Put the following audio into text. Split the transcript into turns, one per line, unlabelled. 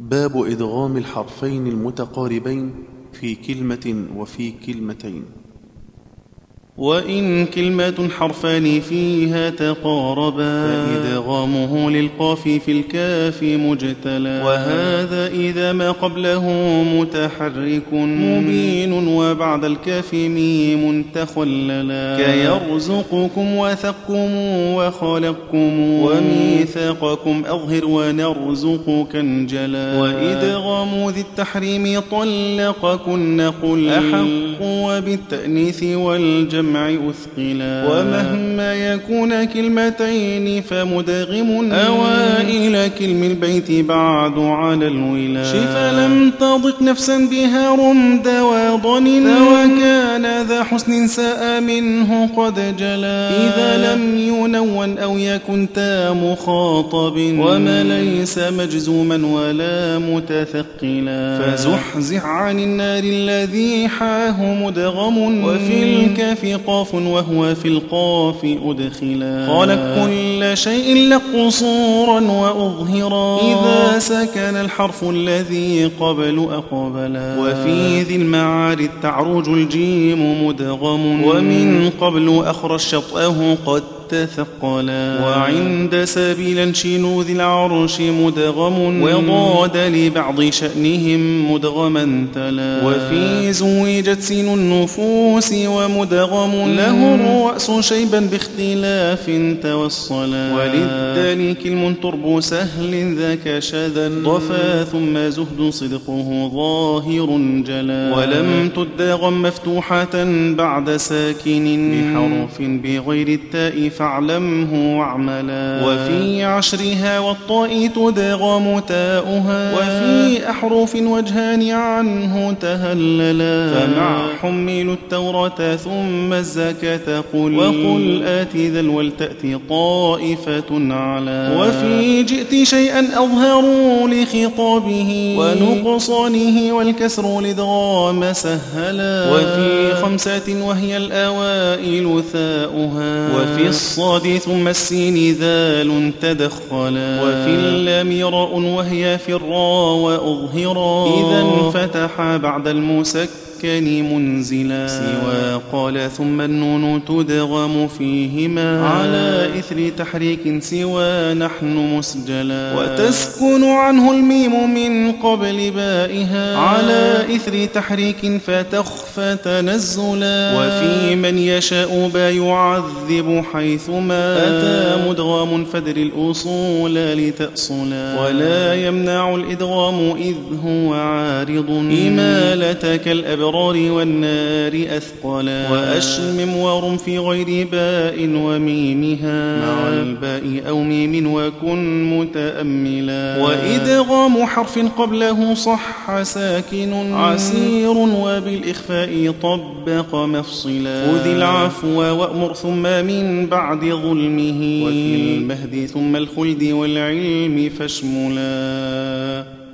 باب إدغام الحرفين المتقاربين في كلمة وفي كلمتين
وإن كلمة حرفان فيها تقاربا فإدغامه للقاف في الكاف مجتلى وهذا إذا ما قبله متحرك مبين وبعد الكاف ميم تخللا كيرزقكم وثقكم وخلقكم وميثاقكم أظهر ونرزقك انجلا وإدغام ذي التحريم طلقكن قل أحق وبالتأنيث وال الجمع أثقلا ومهما يكون كلمتين فمدغم أوائل كلم البيت بعد على الولا شف لم تضق نفسا بها رمد وضن وكان ذا حسن ساء منه قد جلا إذا لم ينون أو يكن تا مخاطب وما ليس مجزوما ولا متثقلا فزحزح عن النار الذي حاه مدغم وفي الكلام في قاف وهو في القاف أدخلا قال كل شيء لك قصورا وأظهرا إذا سكن الحرف الذي قبل أقبلا وفي ذي المعارج تعرج الجيم مدغم ومن قبل أخرج شطأه قد تثقلا وعند سبيلا شين ذي العرش مدغم وضاد لبعض شأنهم مدغما تلا وفي زوجت سين النفوس ومدغم له الرأس شيبا باختلاف توصلا وللدال كلم ترب سهل ذاك شذا ضفا ثم زهد صدقه ظاهر جلا ولم تدغم مفتوحة بعد ساكن بحرف بغير التاء فاعلمه واعملا وفي عشرها والطاء تدغم تاؤها وفي أحرف وجهان عنه تهللا فمع حمل التوراة ثم الزكاة قل وقل آت ذا ولتأتي طائفة على وفي جئت شيئا أظهر لخطابه ونقصانه والكسر لدغام سهلا وفي خمسات وهي الأوائل ثاؤها وفي الصاد ثم السين ذال تدخلا وفي اللام راء وهي في الراء وأظهرا إذا فتح بعد المسكن السكن منزلا سوى قال ثم النون تدغم فيهما على إثر تحريك سوى نحن مسجلا وتسكن عنه الميم من قبل بائها على إثر تحريك فتخفى تنزلا وفي من يشاء با يعذب حيثما أتى مدغام فدر الأصول لتأصلا ولا يمنع الإدغام إذ هو عارض إمالة كالأبرار الأبرار والنار أثقلا وأشمم ورم في غير باء وميمها مع الباء أو ميم وكن متأملا وإدغام حرف قبله صح ساكن عسير وبالإخفاء طبق مفصلا خذ العفو وأمر ثم من بعد ظلمه وفي المهد ثم الخلد والعلم فاشملا